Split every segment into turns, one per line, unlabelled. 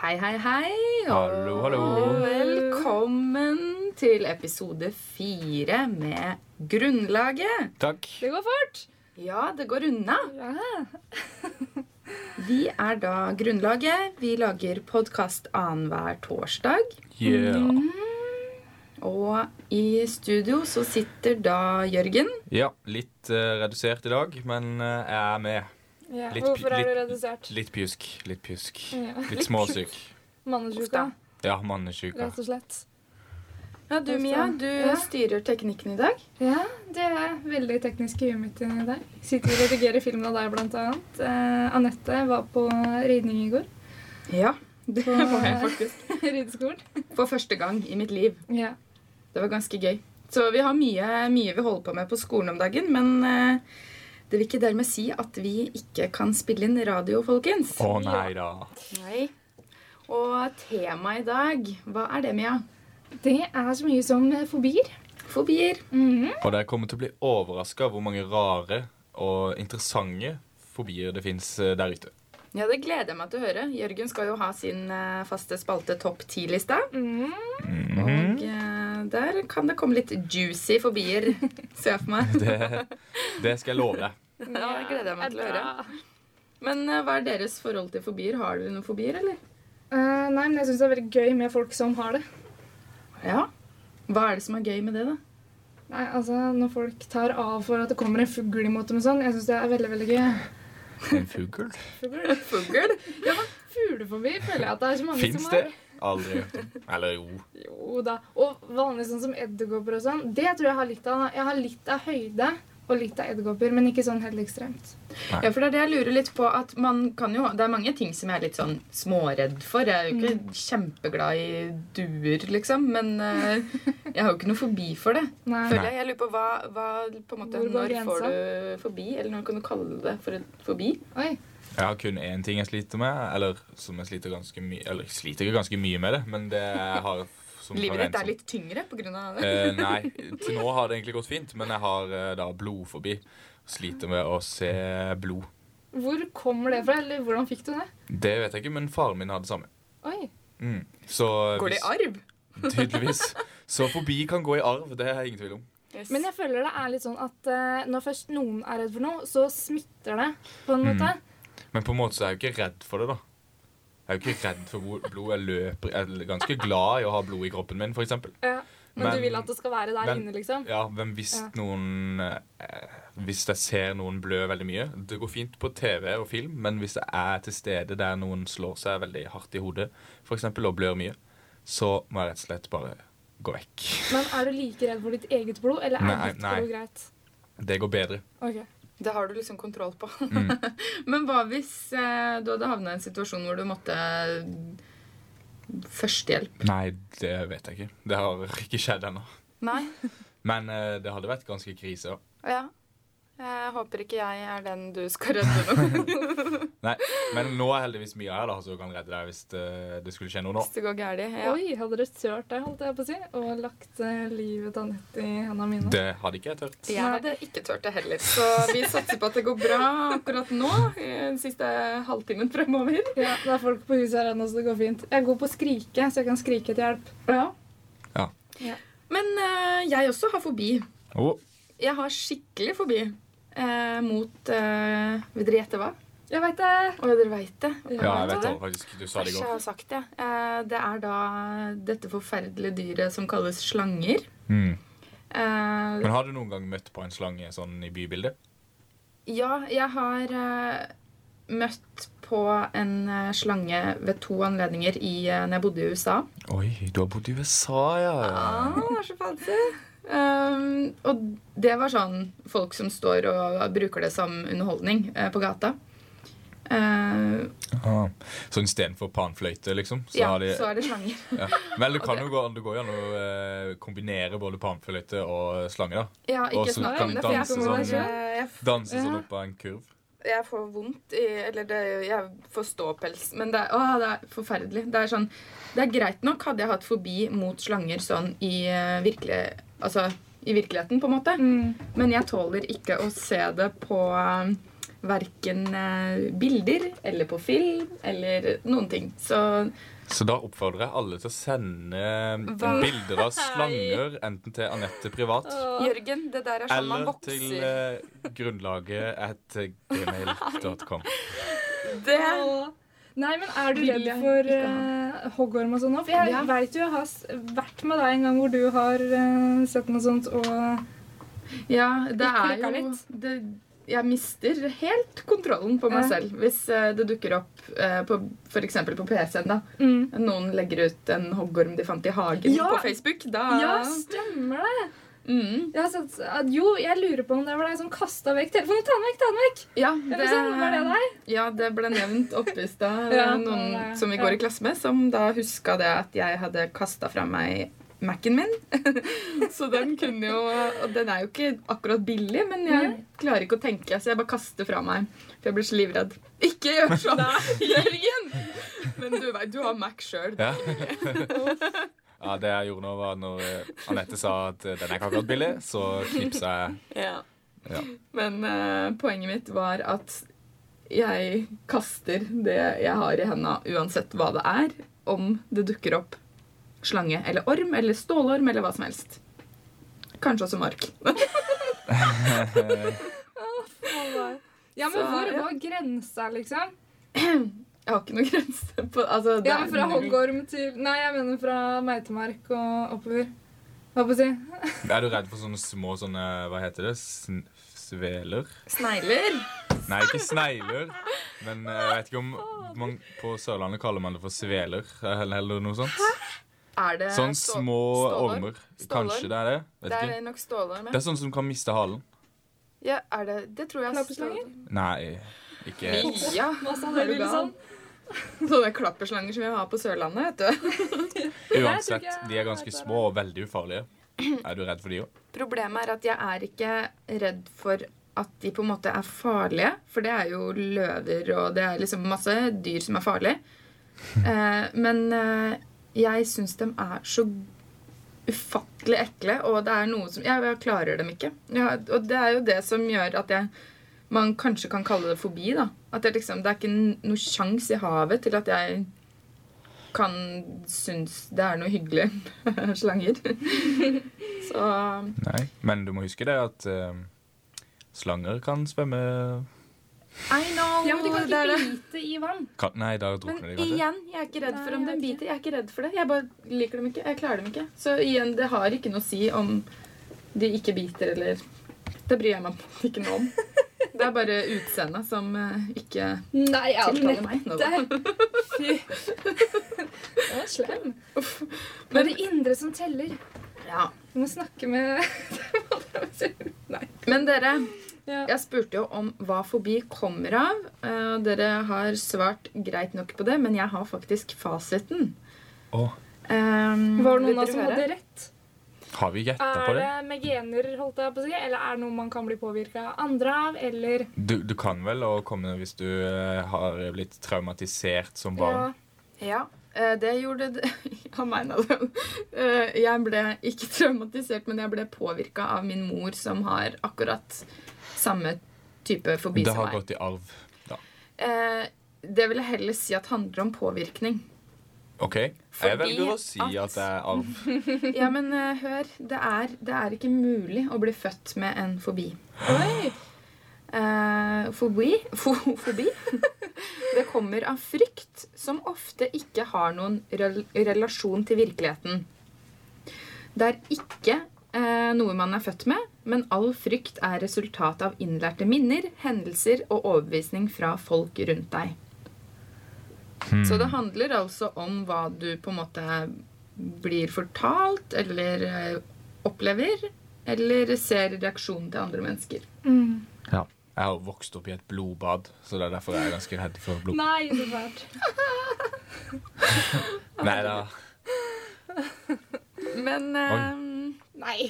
Hei, hei, hei.
Hallo, hallo.
velkommen til episode fire med Grunnlaget.
Takk.
Det går fort!
Ja, det går unna.
Ja.
Vi er da Grunnlaget. Vi lager podkast annenhver torsdag.
Yeah.
Mm.
Og i studio så sitter da Jørgen.
Ja, litt eh, redusert i dag, men eh, jeg er med. Litt pi-
Hvorfor er du
litt-
redusert?
Litt pjusk, litt pjusk.
Ja.
Litt småsyk.
Mannesjuka,
Ja, mannesjuka.
rett og slett.
Ja, du Mia, du
Ja.
styrer teknikken i dag.
Ja, det er veldig teknisk i huet mitt i dag. Sitter og redigerer film av deg, blant annet. Eh, Anette var på ridning i går.
Ja, det
På
var jeg faktisk.
rideskolen.
For første gang i mitt liv.
Ja.
Det var ganske gøy. Så vi har mye, mye vi holder på med på skolen om dagen, men eh, det vil ikke dermed si at vi ikke kan spille inn radio, folkens.
Å nei da.
Nei. Og temaet i dag, hva er det, Mia?
Det er så mye som eh, fobier.
Fobier.
Mhm.
Og dere kommer til å bli overraska hvor mange rare og interessante fobier det fins der ute.
Ja, det gleder jeg meg til å høre. Jørgen skal jo ha sin eh, faste spalte Topp 10-lista. Mm.
Mhm.
Og eh, der kan det komme litt juicy fobier, ser jeg for meg.
Det, det skal jeg love deg.
Ja, det gleder jeg meg
er
til å høre.
bra.
Men eh, hva er deres forhold til fobier? Har dere noen fobier, eller?
Eh, nei, men jeg syns det er veldig gøy med folk som har det.
Ja. Hva er det som er gøy med det, da?
Nei, altså, Når folk tar av for at det kommer en fugl imot dem og sånn, jeg syns det er veldig, veldig gøy.
En fugl?
Fugl?
Fugl?
Ja, men fuglefobi føler jeg at det er så mange
Fins
som
det?
har.
Aldri hørt om. Eller jo.
Jo da. Og vanlig sånn som edderkopper og sånn, det tror jeg jeg har litt av. da. Jeg har litt av høyde og litt av edderkopper, men ikke sånn helt ekstremt.
Ja, for det er det jeg lurer litt på. at man kan jo, Det er mange ting som jeg er litt sånn småredd for. Jeg er jo ikke kjempeglad i duer, liksom. Men eh, jeg har jo ikke noe fobi for det.
Nei.
Føler jeg, jeg lurer på hva, hva på en måte,
Hvor går
Når får
grensa?
du fobi? Eller når kan du kalle det for en fobi?
Oi.
Jeg har kun én ting jeg sliter med, eller som jeg sliter ganske mye Eller jeg sliter ikke ganske mye med det, men det jeg har som
Livet ditt
forventet-
er litt tyngre pga. det.
Eh, nei, til nå har det egentlig gått fint, men jeg har eh, da blodforbi. Sliter med å se blod.
Hvor kommer det fra, eller hvordan fikk du det?
Det vet jeg ikke, men faren min har det samme.
Oi.
Mm. Så
Går det i arv?
hvis- Tydeligvis. Så forbi kan gå i arv, det er ingen tvil om.
Yes.
Men jeg føler det er litt sånn at eh, når først noen er redd for noe, så smitter det på
Mm.
en måte.
Men på en måte så er jeg jo ikke redd for det, da. Jeg er jo ikke redd for blo- blod. Jeg løper Jeg er ganske glad i å ha blod i kroppen min, f.eks.
Ja. Men,
Men-
du vil at det skal være der
men-
inne, liksom?
Ja, men hvis
Ja.
noen eh, Hvis jeg ser noen blø veldig mye Det går fint på TV og film, men hvis jeg er til stede der noen slår seg veldig hardt i hodet, f.eks. og blør mye, så må jeg rett og slett bare gå vekk.
Men er du like redd for ditt eget blod, eller er
Nei,
ditt
nei.
blod greit?
Det går bedre.
Ok.
Det har du liksom kontroll på.
Mm.
Men hva hvis eh, du hadde havna i en situasjon hvor du måtte eh, Førstehjelp.
Nei, det vet jeg ikke. Det har ikke skjedd ennå.
Nei.
Men eh, det hadde vært ganske krise. da.
Ja. Jeg håper ikke jeg er den du skal redde nå.
Nei, Men nå er heldigvis mye her da, som kan redde deg hvis det, det skulle skje noe nå.
hvis det går gærent. Ja.
Oi, hadde dere sølt det, holdt jeg på å si, og lagt eh, livet til Anette i hendene mine?
Det hadde ikke jeg tørt.
Jeg hadde ikke tørt det heller, så vi satser på at det går bra akkurat nå. i Den siste halvtimen fremover.
Ja, det er folk på huset her ennå, så det går fint. Jeg er god på å skrike, så jeg kan skrike til hjelp.
Ja.
Men eh, jeg også har fobi.
Oh.
Jeg har skikkelig fobi eh, mot eh, Vil dere gjette hva?
Jeg veit det!
Å, dere veit det.
Ja, jeg vet det faktisk. Du sa det i
Æsj, jeg
går.
har sagt det. Eh, Det er da dette forferdelige dyret som kalles slanger.
Mm.
Eh,
Men har du noen gang møtt på en slange sånn i bybildet?
Ja, jeg har eh, møtt på en eh, slange ved to anledninger i, eh, når jeg bodde i USA.
Oi, du har bodd i USA, ja.
Ah, det er så fancy. Um, og det var sånn folk som står og bruker det som underholdning eh, på gata. Eh,
Ah. Så istedenfor panfløyte, liksom? Så
ja,
har de,
så er det slanger.
ja. Men det kan jo gå, det går jo an å eh, kombinere både panfløyte og slange, da.
Ja,
Og
ikke
så
snakk
kan
om
de
det, for jeg
danse
kommer
sånn.
eh, jeg
Danse
Ja.
sånn opp av en kurv.
Jeg får vondt i Eller det, jeg får ståpels. Men det er, åh, det er forferdelig. Det er, sånn, det er greit nok hadde jeg hatt fobi mot slanger sånn i, eh, virkelig, altså, i virkeligheten, på en måte. Men jeg tåler ikke å se det på eh, verken eh, bilder eller på film eller noen ting. Så
Så da oppfordrer jeg alle til å sende
Hva?
bilder av slanger enten til Anette privat
Jørgen, det der er sånn man
eller til
vokser.
eh, grunnlaget at gmail.com.
det
Åh. Nei, men er du
Vil
redd
jeg
for
ikke
eh, hoggorm og sånn òg? For jeg
Ja.
vet jo jeg har s- vært med deg en gang hvor du har eh, sett noe sånt og
Ja, det er
klikker
jo
litt.
det, Jeg mister helt kontrollen på meg
Ja.
selv hvis eh, det dukker opp eh, på f.eks. på PC-en. da
mm.
Noen legger ut en hoggorm de fant i hagen
Ja.
på Facebook. Da
Ja, stemmer det!
mm,
Jeg har sett at, Jo, jeg lurer på om det var deg som kasta vekk telefonen. Ta den vekk! ta den vekk!
ja,
Eller sånn, var det deg?
ja, det ble nevnt oppe i stad.
Ja.
Noen som vi går i
Ja.
klasse med, som da huska det at jeg hadde kasta fra meg Mac-en min. så den kunne jo Og den er jo ikke akkurat billig, men jeg klarer ikke å tenke, så jeg bare kaster fra meg. For jeg blir så livredd. Ikke gjør sånn, Jørgen! Men du vet, du har Mac sjøl.
Ja. ja, det jeg gjorde nå, var når eh, Anette sa at eh, den er ikke akkurat billig, så knipsa jeg.
Ja.
Ja.
Men eh, poenget mitt var at jeg kaster det jeg har i henda, uansett hva det er, om det dukker opp slange eller orm eller stålorm eller hva som helst. Kanskje også mark.
Ja, men
Så-
hvor
ja.
går grensa, liksom?
Jeg har ikke noen grense på altså, det
Ja,
er
men Fra
null.
hoggorm til Nei, jeg mener fra meitemark og oppover. Hva på å si?
Er du redd for sånne små sånne Hva heter det? Sn sveler?
Snegler.
Nei, ikke snegler. Men eh, jeg vet ikke om man, På Sørlandet kaller man det for sveler eller, eller noe sånt.
Er det
Sånn
stå-
små
stålorm?
ormer.
Stålorm.
Kanskje det er det? Vet
Det
ikke.
er nok stålorm,
Det
ja.
er sånn som kan miste halen.
ja er det, det tror jeg er
Klapperslanger?
stålorm.
Nei, ikke helt.
Ja.
Hva sa
Er
du,
du
Wilson?
Sånne klapperslanger som vi har på Sørlandet, vet du.
Uansett, de er ganske små og veldig ufarlige. Er du redd for de òg?
Problemet er at jeg er ikke redd for at de på en måte er farlige. For det er jo løver, og det er liksom masse dyr som er farlige. Eh, men eh, jeg syns de er så ufattelig ekle, og det er noe som Jeg, jeg klarer dem ikke. Ja, og det er jo det som gjør at jeg man kanskje kan kalle det fobi. da. At det, liksom, det er ikke n- noe sjans i havet til at jeg kan synes det er noe hyggelig. Slanger. Så um,
Nei. Men du må huske det at eh, slanger kan svømme
I know!
Ja, men du kan
det er
ikke
det.
bite i vann.
kan, Nei, da
Men
drukner de kanskje.
igjen, jeg er ikke redd for om den
Nei, jeg vet ikke.
biter. Jeg er ikke redd for det. Jeg bare liker dem ikke. Jeg klarer dem ikke. Så igjen, det har ikke noe å si om de ikke biter eller Det bryr jeg meg ikke noe om. Det er bare utseendet som eh, ikke
Nei,
tiltaler meg. Nå da.
Fy. Det var slem. Det er det indre som teller.
Ja.
Du må snakke med Det var det jeg sier. Nei.
Men dere,
Ja.
jeg spurte jo om hva fobi kommer av. eh, og Dere har svart greit nok på det, men jeg har faktisk fasiten.
Åh,
Um,
Var det noen av oss som hadde rett?
har vi gjetta på
Er
det?
det med gener, holdt jeg på å si, eller er det noe man kan bli påvirka av andre av, eller
Du, du kan vel å komme hvis du eh, har blitt traumatisert som barn.
Ja, eh, det gjorde det. Han mener det. Eh, Jeg ble ikke traumatisert, men jeg ble påvirka av min mor, som har akkurat samme type fobi
det
som
har
meg.
gått i arv. Da.
Eh, Det vil jeg heller si at handler om påvirkning.
OK.
Fordi
jeg velger å si
at-
at det er arv.
Ja, men eh, hør. Det er, det er ikke mulig å bli født med en fobi.
Oi!
Eh, fobi fo, Fobi? Det kommer av frykt, som ofte ikke har noen rel relasjon til virkeligheten. Det er ikke eh, noe man er født med, men all frykt er resultat av innlærte minner, hendelser og overbevisning fra folk rundt deg. Så det handler altså om hva du på en måte blir fortalt eller eh, opplever, eller ser reaksjonen til andre mennesker.
Mm.
Jeg har vokst opp i et blodbad, så det er derfor jeg er ganske redd for blod.
Nei, så fælt.
Nei da.
Men eh,
Nei.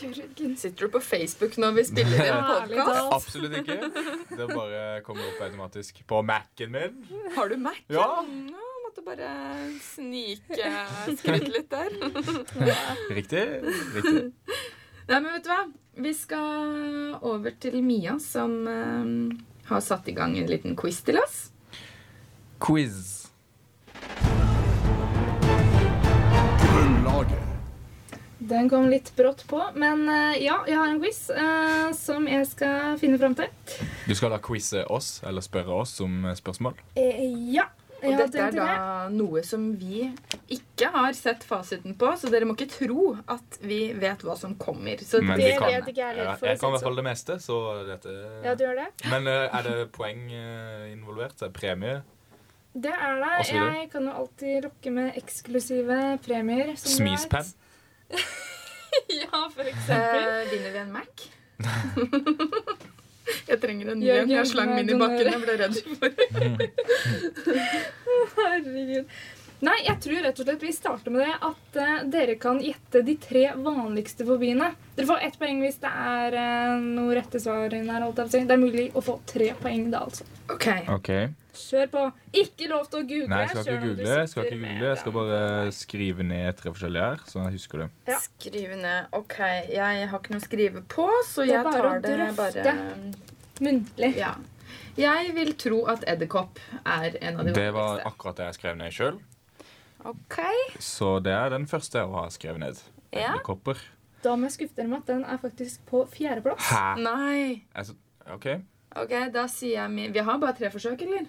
Jørgen.
Sitter du på Facebook når vi spiller en
Ærlig
podkast?
talt.
Absolutt ikke. Det bare kommer opp automatisk på Mac-en min.
Har du Mac?
Ja.
Nå måtte bare snike skryte litt der.
Riktig. Riktig.
Nei, men vet du hva? Vi skal over til Mia, som eh, har satt i gang en liten quiz til oss.
Quiz.
Grunnlaget.
Den kom litt brått på, men eh, ja, jeg har en quiz eh, som jeg skal finne fram til.
Du skal da quize oss, eller spørre oss om eh, spørsmål.
Eh, ja.
Og
Jeg har
dette er
tenkt til
da
det.
noe som vi ikke har sett fasiten på, så dere må ikke tro at vi vet hva som kommer. Så
Men
det,
vi
Det
kan-
vet ikke jeg heller.
Ja,
for å
jeg
si
kan i
det
hvert fall
sånn.
det meste, så dette
Ja, du gjør det?
Men eh, er det poeng eh, involvert? Er det Premie?
Det er det.
Og så videre.
Jeg kan jo alltid lokke med eksklusive premier. som du vet.
Smispenn?
ja, for eksempel.
eh, vinner vi en Mac? jeg trenger en ny
Jørgen,
en. Jeg slang min i bakken. Jeg ble redd for
Herregud. Nei, jeg tror rett og slett vi starter med det at eh, dere kan gjette de tre vanligste fobiene. Dere får ett poeng hvis det er eh, noe rette svar inn her. Holdt jeg på å si. Det er mulig å få tre poeng da, altså.
OK.
OK.
Kjør på. Ikke lov til å google.
Nei, jeg skal ikke
selv om du
google. Jeg skal
sitter
ikke
med
google. Jeg skal
den.
bare skrive ned tre forskjellige her, så jeg husker det.
Ja.
Skrive ned. OK, jeg har ikke noe å skrive på, så
Det er
jeg
bare
tar
å
det
drøfte.
bare
Muntlig.
Ja. Jeg vil tro at edderkopp er en av de
Det var
vanligste.
akkurat det jeg skrev ned sjøl,
OK.
så det er den første jeg har skrevet ned.
Ja.
Edderkopper.
Da må jeg skuffe dere med at den er faktisk på fjerdeplass.
Hæ?
Nei.
Altså, OK.
OK, da sier jeg min Vi har bare tre forsøk, eller?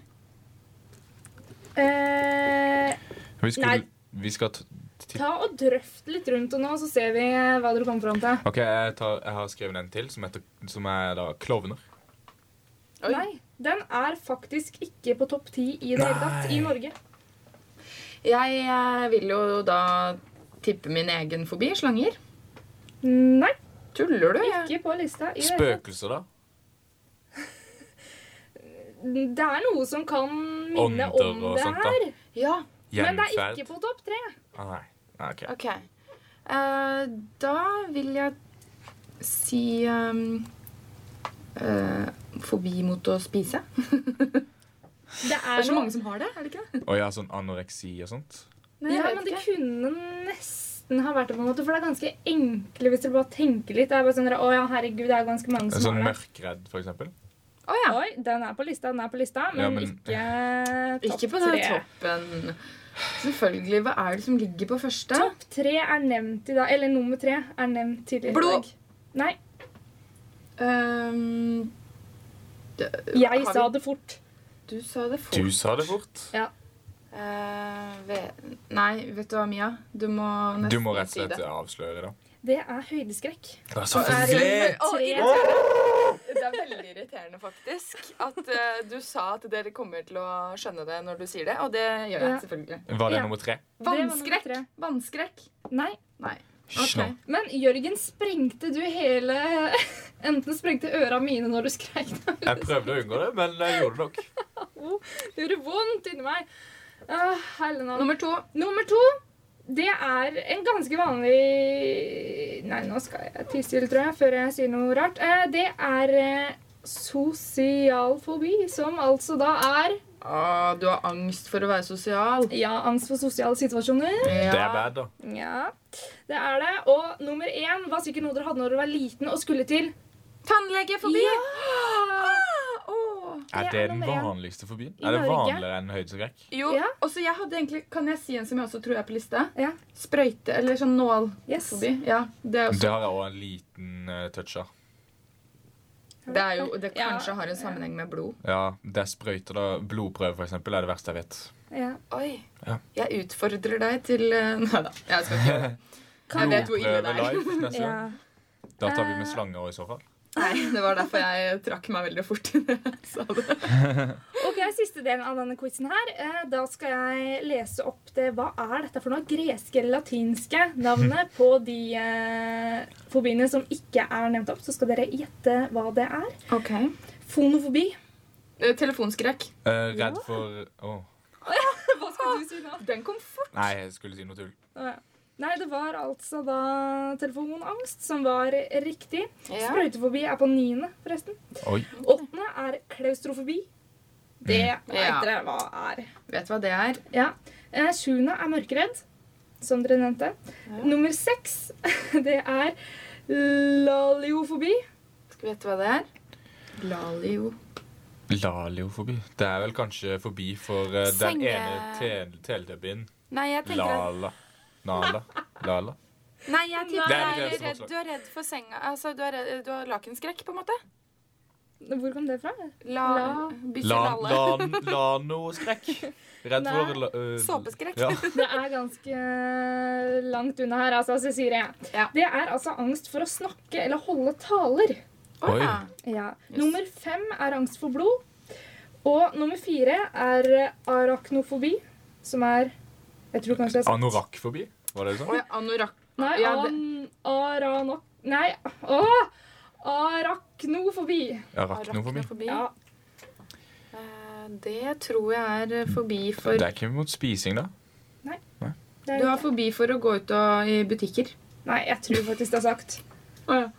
Eh,
Vi, skulle,
Nei.
vi skal t ti-
ta og drøft litt rundt og nå, så ser vi eh, hva dere kommer fram til.
OK, jeg, tar, jeg har skrevet en til, som, heter, som er da klovner.
Oi.
Nei, den er faktisk ikke på topp ti i det hele tatt i Norge.
Jeg eh, vil jo da tippe min egen fobi. Slanger.
Nei,
Tuller du? Jeg?
ikke på lista. i det hele tatt.
Spøkelser, da?
Det er noe som kan minne
Ånder
om
og
det
sånt, da.
her,
Ja.
men det er
Gjenferd?
ikke på topp tre.
Ah, nei. Nei, OK.
OK. Eh, da vil jeg si ehm, eh, Fobi mot å spise.
Det
Det
er
er så
noe
mange som har det. er det ikke det?
Og jeg har sånn anoreksi og sånt.
Nei, jeg
Ja,
vet
men det
ikke.
kunne nesten ha vært det, på en måte, for det er ganske enkle hvis dere bare tenker litt. Det er bare sånn, Å ja, herregud, det er ganske mange som
Sånn
har det.
mørkredd, for eksempel.
Å ja.
Oi, den er på lista, den er på lista, men,
Ja, men-
ikke topp
Ikke på den
tre.
toppen. Selvfølgelig. Hva er det som ligger på første?
Topp tre er nevnt i dag, eller nummer tre er nevnt tidligere i
Blod.
dag. Nei,
Ehm, det- har
jeg
vi-
sa det fort.
Du sa det fort.
Du sa det fort.
Eh, ve- nei, vet du hva, Mia? Du må nesten
Du må rett og
si
slett
det.
avsløre, da.
Det er høydeskrekk.
Det er så
Er det-
fint!
Å,
Tre.
irriterende. Det er veldig irriterende, faktisk. At eh, du sa at dere kommer til å skjønne det når du sier det, og det gjør jeg
Ja.
selvfølgelig.
Var det
Ja.
nummer tre?
var nummer
Vannskrekk!
tre.
Vannskrekk.
Nei,
Nei.
Snå.
men Jørgen, sprengte du hele Enten sprengte øra mine når du skreik. det
Jeg prøvde å unngå det, men jeg gjorde det nok.
gjorde vondt inni meg. Uh, hele navn.
Nummer to.
Nummer to, det er en ganske vanlig Nei, nå skal jeg tie stille, tror jeg, før jeg sier noe rart. Eh, Det er eh, sosial fobi, som altså da er
Å, du har angst for å være sosial.
Ja, angst for sosiale situasjoner.
Det er bad, da.
Ja, det er det. Og nummer én var sikkert noe dere hadde når dere var liten og skulle til.
Tannlegefobi!
Ja!
Å.
Er det
er
den
nummer én.
vanligste fobien?
I
Er det
Norge.
vanligere enn høydeskrekk?
Jo,
Ja.
og så jeg hadde egentlig Kan jeg si en som jeg også tror er på lista?
Ja.
Sprøyte eller sånn nålfobi.
Yes.
Ja, det er
Det
også
har jeg òg en liten eh, touch av.
Det er jo Det
Ja.
kanskje har en sammenheng med blod.
Ja, det er sprøyter, da. Blodprøve, for eksempel, er det verste jeg vet.
Ja.
Oi.
Ja.
Jeg utfordrer deg til eh, Nei da, jeg skal ikke gjøre det. Jeg vet hvor ille det
Blodprøve
er.
live neste
ja.
gang. Da tar vi med slanger også, i så fall.
Nei, Det var derfor jeg trakk meg veldig fort i det jeg sa det.
Ok, Siste delen av denne quizen her. Eh, Da skal jeg lese opp det Hva er dette for noe? Greske eller latinske navnet på de eh, fobiene som ikke er nevnt opp. Så skal dere gjette hva det er.
Ok.
Fonofobi.
Telefonskrekk.
Eh, redd for Å.
Hva skal du si nå?
Den kom fort.
Nei, jeg skulle si noe tull.
Å, ja. Nei, det var altså da telefonangst som var riktig.
Ja.
Sprøytefobi er på niende, forresten.
Oi.
Åttende er klaustrofobi. Det vet
Ja.
dere hva er.
Vet du hva det er?
Ja. Eh, Sjuende er mørkeredd, som dere nevnte. Nummer seks, det er laliofobi.
Skal vi vite hva det er? Lalio.
Laliofobi. Det er vel kanskje forbi for eh, den
Senge-
ene tel- teletubbyen.
Nei, jeg tenker at
Lala. Nala. Lala.
Nei, jeg
Det
tipper
er
du
mitt
er
eneste
redd,
forslag.
du er redd for senga Altså, du er, redd, du har lakenskrekk, på en måte.
Hvor kom det fra?
La,
La-
bytte
La,
lalle.
la, Lanoskrekk. Redd for la, øh,
Såpeskrekk.
Ja.
Det er ganske langt unna her, altså, Cecilie.
Ja.
Det er altså angst for å snakke eller holde taler.
Å,
Oi.
ja.
Ja. Nummer fem er angst for blod. Og nummer fire er eh, arachnofobi, som er Jeg tror kanskje det er sant.
Anorakkfobi, var det det du
Å,
sa?
ja, anorak...
Nei,
Ja, det-
an, aranok... Nei, åh! Arachnofobi.
Arachnofobi.
Ja.
Eh, Det tror jeg er fobi for
Det er ikke mot spising, da.
Det er
Du har
ikke-
fobi for å gå ut og, i butikker.
Nei, jeg tror faktisk det er sagt.
Å ja.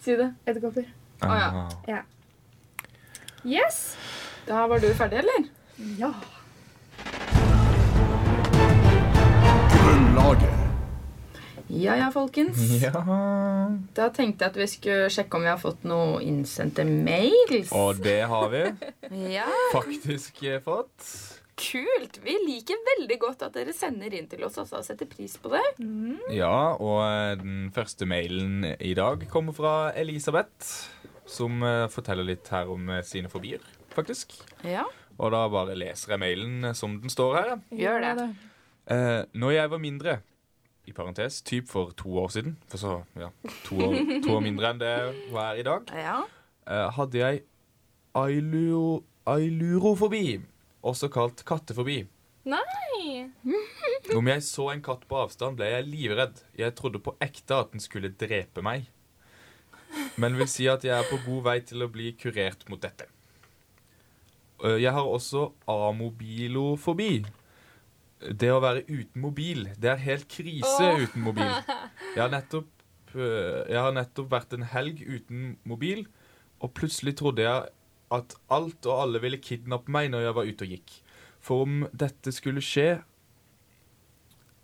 Si det.
Edderkopper.
Å, ja.
Ah.
Yes!
Da var du ferdig, eller?
Ja.
Grunnlaget.
Ja ja, folkens.
ja.
Da tenkte jeg at vi skulle sjekke om vi har fått noe innsendte mails.
Og det har vi
Ja,
faktisk eh, fått.
Kult! Vi liker veldig godt at dere sender inn til oss. Altså, setter pris på det.
Ja, og eh, den første mailen i dag kommer fra Elisabeth, som eh, forteller litt her om eh, sine fobier, faktisk.
Ja,
Og da bare leser jeg mailen eh, som den står her. ja.
Gjør det.
Eh, når jeg var mindre, i parentes, typ for to år siden, for så, ja, to år, to år mindre enn det hun er i dag,
ja.
eh, hadde jeg ailuro, ailurofobi, også kalt kattefobi.
Nei!
Om jeg så en katt på avstand, ble jeg livredd. Jeg trodde på ekte at den skulle drepe meg. Men vil si at jeg er på god vei til å bli kurert mot dette. Eh, Jeg har også amobilofobi. Det å være uten mobil. Det er helt krise
Åh.
uten mobil. Jeg har, nettopp, eh, jeg har nettopp vært en helg uten mobil, og plutselig trodde jeg at alt og alle ville kidnappe meg når jeg var ute og gikk. For om dette skulle skje,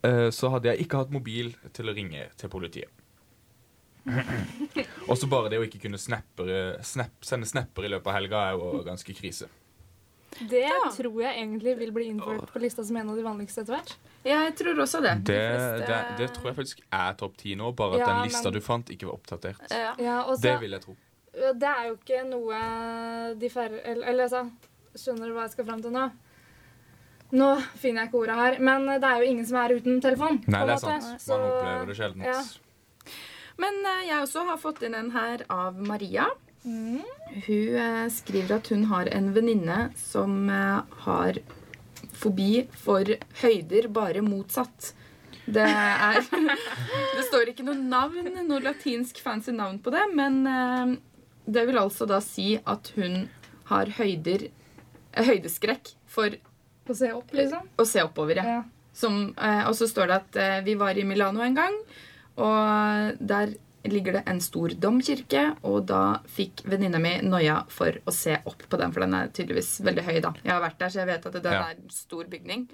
eh, så hadde jeg ikke hatt mobil til å ringe til politiet. Også bare det å ikke kunne snapper, snap, sende snapper i løpet av helga er jo ganske krise.
Det tror jeg egentlig vil bli innført på lista som en av de vanligste etter hvert.
Jeg tror også det.
Det,
De fleste-
det, det tror jeg faktisk er topp ti nå, bare at
Ja,
den lista
men- Eh, altså-
du fant, ikke var oppdatert.
Ja.
Ja, og
Det
så-
vil jeg tro.
Det er jo ikke noe de færre Eller, eller altså, skjønner du hva jeg skal fram til nå? Nå finner jeg ikke ordet her, men det er jo ingen som er uten telefon.
Nei,
på en
det er
måte.
sant.
Så-
Man opplever det sjelden.
ja.
Men eh, jeg også har fått inn en her av Maria.
Mm.
Hun eh, skriver at hun har en venninne som eh, har fobi for høyder, bare motsatt. Det er Det står ikke noe navn, noe latinsk fancy navn på det, men eh, det vil altså da si at hun har høyder eh, høydeskrekk for
Få se opp, liksom.
å se oppover, ja.
Ja.
Som, eh, og så står det at eh, vi var i Milano en gang, og der ligger det en stor domkirke, og da fikk venninna mi noia for å se opp på den, for den er tydeligvis veldig høy, da. Jeg har vært der, så jeg vet at den
Ja.
er en stor bygning.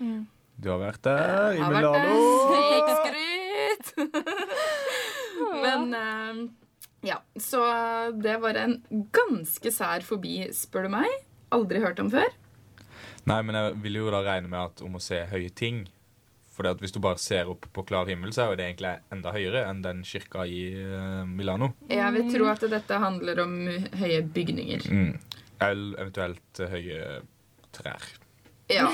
Du har vært der, Mm.
Jeg
i
har vært der.
Milano.
Snikskryt! Men eh, ja, så det var en ganske sær fobi, spør du meg. Aldri hørt om før.
Nei, men jeg vil jo da regne med at om å se høye ting For hvis du bare ser opp på klar himmel, så er jo det egentlig enda høyere enn den kirka i eh, Milano.
Jeg vil
Mm.
tro at dette handler om høye bygninger.
Eller eventuelt eh, høye trær.
Ja.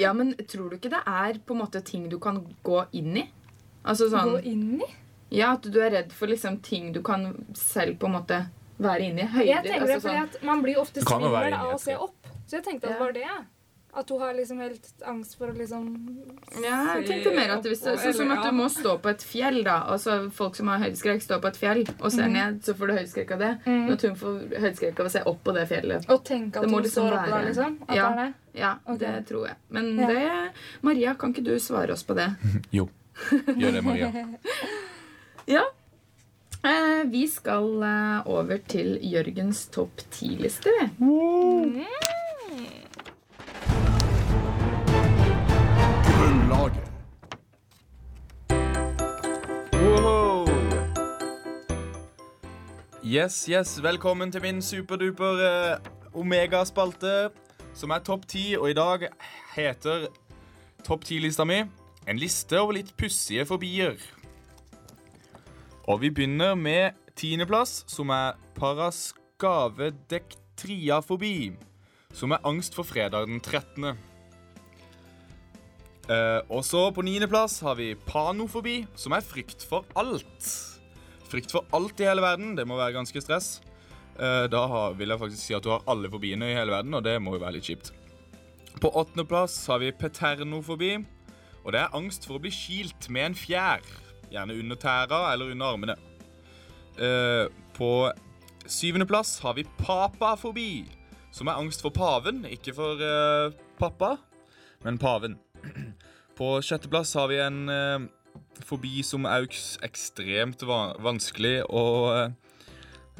ja, men tror du ikke det er på en måte ting du kan gå inn i? Altså sånn,
Gå inn i.
ja, At du er redd for liksom ting du kan selv på en måte være inni.
Jeg
Høyder.
tenker det
altså
fordi
sånn.
at man blir ofte
Det kan jo være
svimmel
inni
av å
et
se
tre.
opp. Så jeg tenkte at det
Ja.
var det. At hun har liksom helt angst for å liksom
Ja, jeg tenkte mer at hvis, sånn som at du må stå på et fjell, da. Altså folk som har høydeskrekk, står på et fjell og
Mhm.
ser ned, så får du høydeskrekk av det.
Mm.
Når hun får høydeskrekk av å se opp på det fjellet.
Og tenke at
Det må
hun
liksom
står opp da,
være-
liksom. At
Ja.
det er det.
Ja,
Ok.
det tror jeg. Men
Ja.
det Maria, kan ikke du svare oss på det?
Jo. Gjør det, Maria.
Ja. Eh, vi skal eh, over til Jørgens topp ti-liste, vi.
Grunnlaget.
Wow. Yes, yes, velkommen til min superduper eh, Omegaspalte, som er topp ti, og i dag heter topp ti-lista mi en liste over litt pussige fobier. Og vi begynner med tiendeplass, som er paraskavedektriafobi, som er angst for fredag den 13. Eh, og så på niendeplass har vi panofobi, som er frykt for alt. Frykt for alt i hele verden, det må være ganske stress. Eh, Da har, vil jeg faktisk si at du har alle fobiene i hele verden, og det må jo være litt kjipt. På åttendeplass har vi peternofobi, og det er angst for å bli kilt med en fjær. Gjerne under tæra eller under armene. Eh, På syvendeplass har vi papafobi, som er angst for paven, ikke for eh, pappa, men paven. På sjetteplass har vi en eh, fobi som er eks- ekstremt va vanskelig å eh,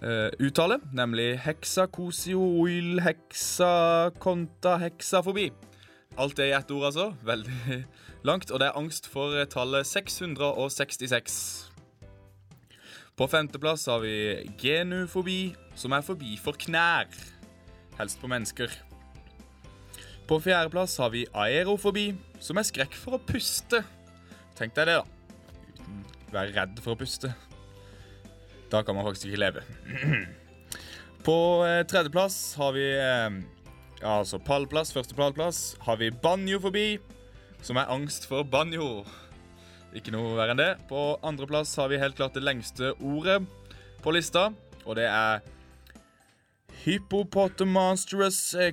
eh, uttale, nemlig heksakosio-oil, heksakonta, heksafobi. Alt det i ett ord, altså. Veldig langt. Og det er angst for eh, tallet 666. På femteplass har vi genufobi, som er fobi for knær. Helst på mennesker. På fjerdeplass har vi aerofobi, som er skrekk for å puste. Tenk deg det, da. Uten å være redd for å puste. Da kan man faktisk ikke leve. På eh, tredjeplass har vi eh, ja, altså pallplass, første pallplass, har vi banjofobi, som er angst for banjo. Ikke noe verre enn det. På andreplass har vi helt klart det lengste ordet på lista, og det er Hippopotamonstrous eh,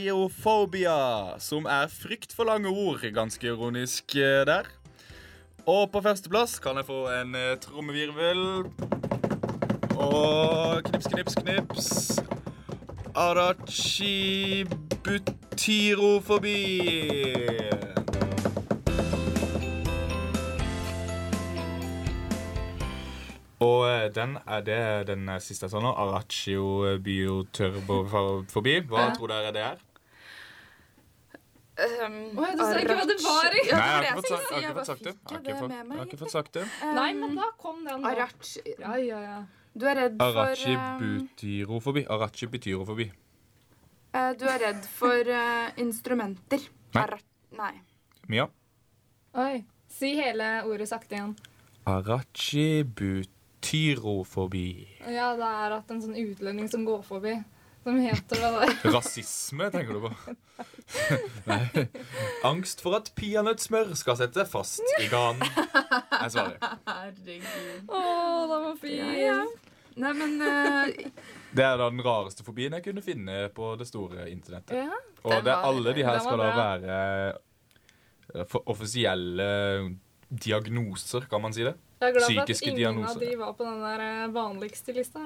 quepedaliophobia, som er frykt for lange ord. Ganske ironisk eh, der. Og på førsteplass kan jeg få en eh, trommevirvel. Og knips, knips, knips. Arachibutyrofobi. Og eh, den er det den er siste jeg sa nå. Arachiobioturbofobi. Hva tror dere det er?
Um,
Oi, du sa ikke hva det var i.
Ja,
Nei, jeg
det
har
var
ikke fått
det
sagt- jeg har ikke fått sagt det. Jeg har
Jeg bare fikk
ikke fått-
det
jeg har
med
ikke fått sagt det.
Nei, men da kom den. da.
Arachi
Ja, ja, ja.
Du er redd for eh,
Arachibutyrofomi. Arachibutyrofomi.
eh, Du er redd for eh, instrumenter.
Nei.
Ara- Nei.
Mia?
Oi. Si hele ordet sakte igjen.
Arachibutyrofomi.
Ja, det er at en sånn utlending som går forbi, som heter hva det er.
Rasisme, tenker du på? Nei. Angst for at peanøttsmør skal sette fast i ganen. Jeg svarer.
Herregud.
Å, den var fin!
Ja, ja. Nei, men eh,
Det er da den rareste fobien jeg kunne finne på det store internettet.
Ja.
Og
Den
det
var-
alle de her
den var
skal da
bra.
være eh, for- offisielle diagnoser, kan man si det?
Jeg er glad for at
Psykiske
ingen
diagnoser.
av de var på den der eh, vanligste lista.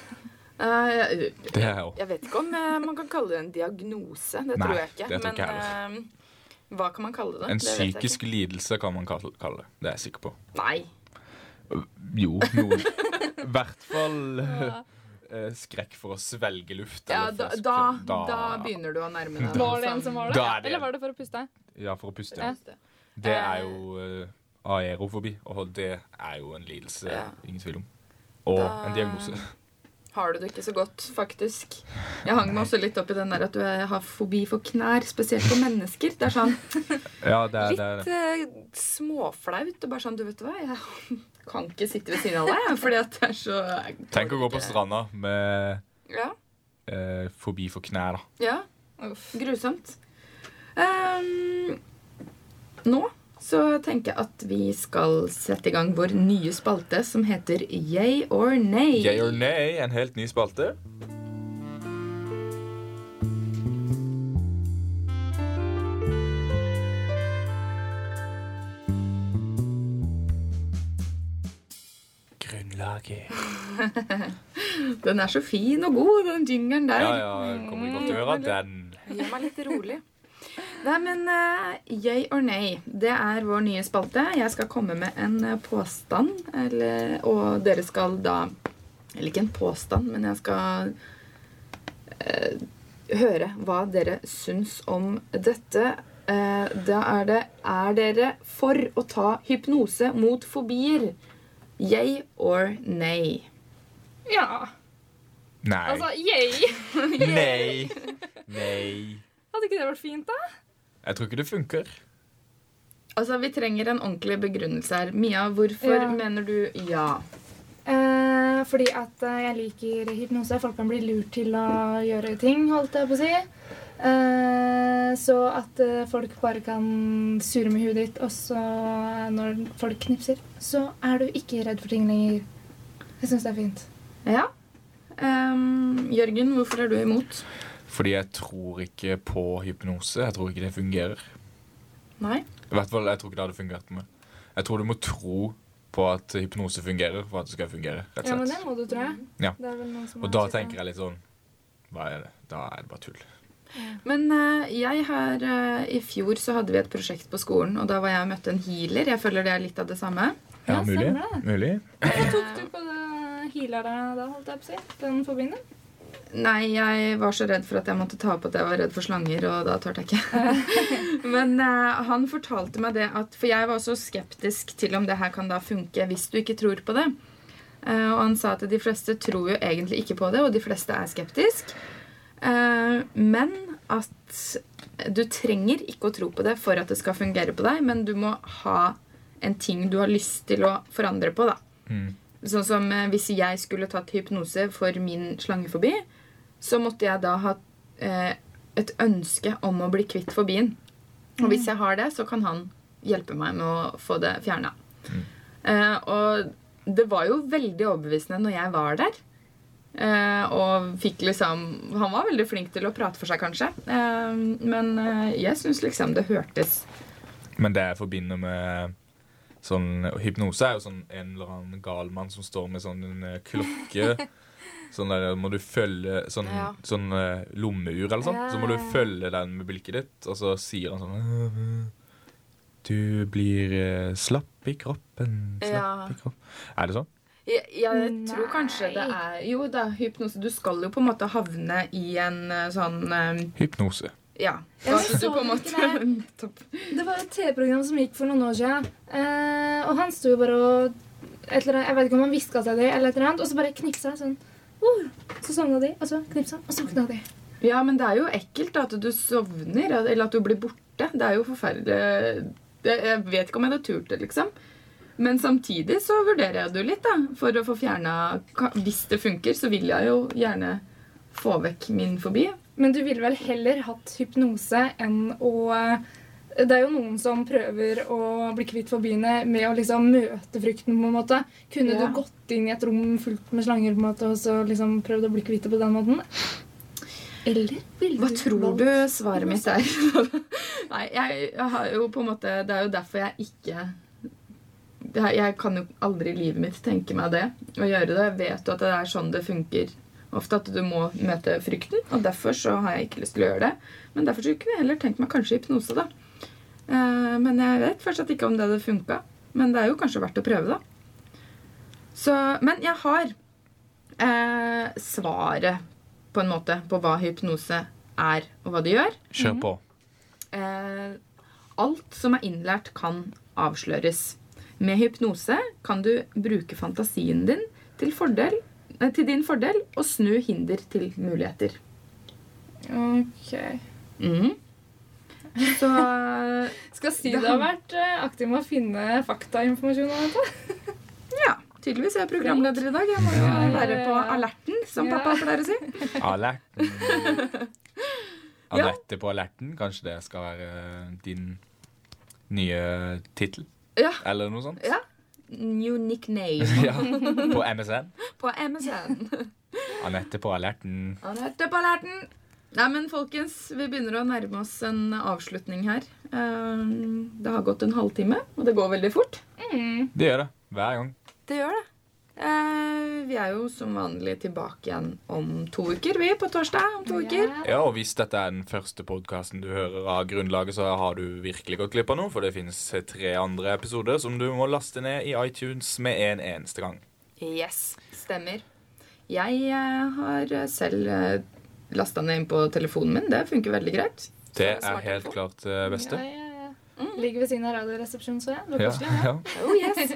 eh,
Det er jo
Jeg vet ikke om eh, man kan kalle det en diagnose. Det
Nei,
tror jeg ikke.
det tror ikke jeg
men eh, hva kan man kalle det?
En
Det vet jeg
psykisk lidelse kan man kalle kalle det. Det er jeg sikker på.
ikke. Nei.
Jo, noen. I hvert fall eh, skrekk for å svelge luft.
ja,
eller
da,
for å
da,
skre-
da begynner du å nærme deg. sånn.
Var det en som var det?
Da er det en.
Sånn. Eller var det for å puste?
Ja, for å puste.
Ja.
Det er jo eh, aerofobi, og det er jo en lidelse.
Ja.
Ingen tvil om. Og en diagnose.
Har du det ikke så godt, faktisk? Jeg hang meg også litt opp i den der at du eh, har fobi for knær, spesielt for mennesker. Det er sånn
Ja, det er, det er
Litt eh, småflaut. Og bare sånn, du vet hva, jeg kan ikke sitte ved siden av deg, jeg, fordi at det er så
Tenk å gå på stranda med
Ja.
eh, fobi for knær, da.
Ja,
Uff.
grusomt. Ehm, nå så tenker jeg at vi skal sette i gang vår nye spalte som heter Yay or Nay.
Yay or nay, en helt ny spalte. Grunnlaget.
Den er så fin og god, den jingeren der.
Ja, ja, kommer i godt i øra, den.
Gjør meg litt rolig. Nei, men eh, yay or nay, det er vår nye spalte. Jeg skal komme med en eh, påstand, eller, og dere skal da Eller ikke en påstand, men jeg skal eh, høre hva dere syns om dette. Eh, da er det Er dere for å ta hypnose mot fobier? Yay or nay?
Ja.
Nei.
Altså, yay!
Nei. Nei.
Hadde ikke det vært fint, da?
Jeg tror ikke det funker.
Altså, Vi trenger en ordentlig begrunnelse her. Mia, hvorfor
Ja.
mener du ja?
Eh, fordi at eh, jeg liker hypnose. Folk kan bli lurt til å gjøre ting, holdt jeg på å si. Eh, så at eh, folk bare kan sure med huet ditt, og så eh, når folk knipser, så er du ikke redd for ting lenger. Jeg syns det er fint.
Ja. Ehm, Jørgen, hvorfor er du imot?
Fordi jeg tror ikke på hypnose. Jeg tror ikke det fungerer.
Nei.
I hvert fall, jeg tror ikke det hadde fungert på meg. Jeg tror du må tro på at hypnose fungerer for at det skal fungere. rett
Ja,
og
men det
slett.
må du, tror jeg.
Ja.
Det er vel noen som
Og da tenker jeg litt sånn Hva er det? Da er det bare tull.
Men eh, jeg har eh, I fjor så hadde vi et prosjekt på skolen, og da var jeg og møtte en healer. Jeg føler det er litt av det samme.
Ja, Ja, mulig. stemmer det.
mulig.
Hvorfor tok du på det healere da, holdt jeg på å si? Den forbinder?
Nei, jeg var så redd for at jeg måtte ta opp at jeg var redd for slanger, og da tørte jeg ikke. Men eh, han fortalte meg det at For jeg var også skeptisk til om det her kan da funke hvis du ikke tror på det. Eh, og han sa at de fleste tror jo egentlig ikke på det, og de fleste er skeptisk. Eh, men at du trenger ikke å tro på det for at det skal fungere på deg, men du må ha en ting du har lyst til å forandre på, da.
Mm.
Sånn som eh, hvis jeg skulle tatt hypnose for min slangefobi, så måtte jeg da ha eh, et ønske om å bli kvitt fobien. Og hvis jeg har det, så kan han hjelpe meg med å få det fjerna. Eh, og det var jo veldig overbevisende når jeg var der. Eh, og fikk liksom Han var veldig flink til å prate for seg, kanskje. Eh, men eh, jeg syns liksom det hørtes
Men det jeg forbinder med sånn Hypnose er jo sånn en eller annen gal mann som står med sånn en eh, klokke. Sånn der må du følge Sånn,
Ja.
sånn eh, lommeur eller sånn. Så må du
Ja.
følge den med blikket ditt, og så sier han sånn «Øh, Du blir eh, slapp i kroppen, slapp
Ja.
i kroppen Er det sånn?
Jeg, jeg tror
Nei.
kanskje det er Jo da, hypnose. Du skal jo på en måte havne i en eh, sånn eh,
Hypnose.
Ja.
Ja, men
Så at du
så
på en
du
måte
ikke det?
Topp.
Det var et TV-program som gikk for noen år siden. Eh, og han sto jo bare og et eller annet, Jeg vet ikke om han hviska seg det, eller et eller annet, og så bare knipsa han sånn. «Wow!» Så sovna de, og så knipsa han, og så våkna de.
Ja, men det er jo ekkelt da, at du sovner, eller at du blir borte. Det er jo forferdelig det, Jeg vet ikke om jeg hadde turt det, liksom. Men samtidig så vurderer jeg det jo litt, da. For å få fjerna ka- Hvis det funker, så vil jeg jo gjerne få vekk min fobi.
Men du ville vel heller hatt hypnose enn å eh, det er jo noen som prøver å bli kvitt fobiene med å liksom møte frykten. på en måte. Kunne
Ja.
du gått inn i et rom fullt med slanger på en måte, og så liksom prøvd å bli kvitt det på den måten? Eller ville
Hva tror
valgt-
du svaret mitt er? Nei, jeg, jeg har jo på en måte Det er jo derfor jeg ikke det her- Jeg kan jo aldri i livet mitt tenke meg det å gjøre det. Jeg vet jo at det er sånn det funker ofte, at du må møte frykten. Og derfor så har jeg ikke lyst til å gjøre det. Men derfor så kunne jeg heller tenkt meg kanskje hypnose, da. Eh, Men jeg vet fortsatt ikke om det hadde funka. Men det er jo kanskje verdt å prøve, da. Så, men jeg har eh, svaret, på en måte, på hva hypnose er, og hva det gjør.
Kjør på.
Eh, alt som er innlært, kan avsløres. Med hypnose kan du bruke fantasien din til, fordel, nei, til din fordel og snu hinder til muligheter.
Ok.
Mhm. Så
Skal si
Det
det har vært eh, aktiv med å finne faktainformasjon om dette.
ja. Tydeligvis er jeg programleder i dag. Jeg må jo være på alerten, som
Ja.
pappa pleier å si.
Alerten.
Ja.
Anette på alerten. Kanskje det skal være eh, din nye tittel?
Ja.
Eller noe sånt?
Ja. New nickname
Ja. På MSN.
på MSN.
Anette på alerten.
Alerte på alerten! Nei, men folkens, vi begynner å nærme oss en avslutning her. Ehm, Det har gått en halvtime, og det går veldig fort.
Det gjør det. Hver gang.
Det gjør det. Eh, vi er jo som vanlig tilbake igjen om to uker, vi, på torsdag. om to uker.
Ja, og hvis dette er den første podkasten du hører av Grunnlaget, så har du virkelig gått glipp av noe, for det finnes tre andre episoder som du må laste ned i iTunes med en eneste gang.
Yes, stemmer. Jeg eh, har selv eh, lasta ned inn på telefonen min. Det funker veldig greit.
Det
Så
er helt
smarttelefon.
klart det beste.
Ja, ja, ja. Ligger ved siden av Radioresepsjonen, så jeg. Det var
Ja,
koselig.
ja.
Oh, yes.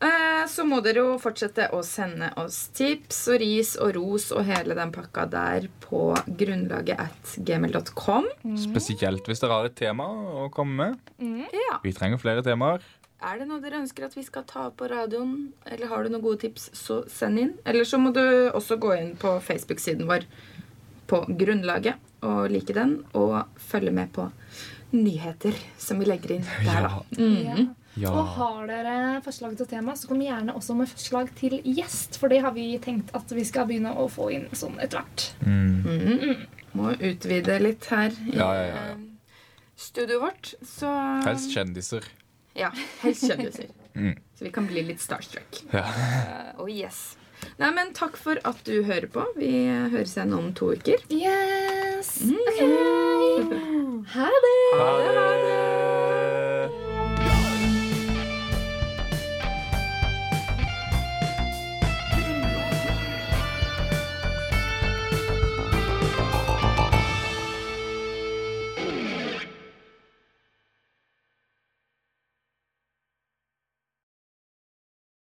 Eh, så må dere jo fortsette å sende oss tips og ris og ros og hele den pakka der på grunnlaget at gmail.com.
Mm.
Spesielt hvis dere har et tema å komme med.
Ja.
Vi trenger flere temaer.
Er det noe dere ønsker at vi skal ta opp på radioen, eller har du noen gode tips, så send inn. Eller så må du også gå inn på Facebook-siden vår på Grunnlaget og like den, og følge med på nyheter som vi legger inn der, da. Mm.
Ja.
Ja.
Og har dere forslag til tema, så kom gjerne også med forslag til gjest. For det har vi tenkt at vi skal begynne å få inn sånn etter hvert.
Mm.
Må utvide litt her i
Ja, ja, ja, ja.
eh, studioet vårt, så
Helst kjendiser.
Ja, helst kjendiser.
Mm.
Så vi kan bli litt starstruck.
Ja.
Eh, oh yes. Nei, men takk for at du hører på.
Mm.
Vi høres igjen om to uker.
Yes! Ok! Mm. Ha det!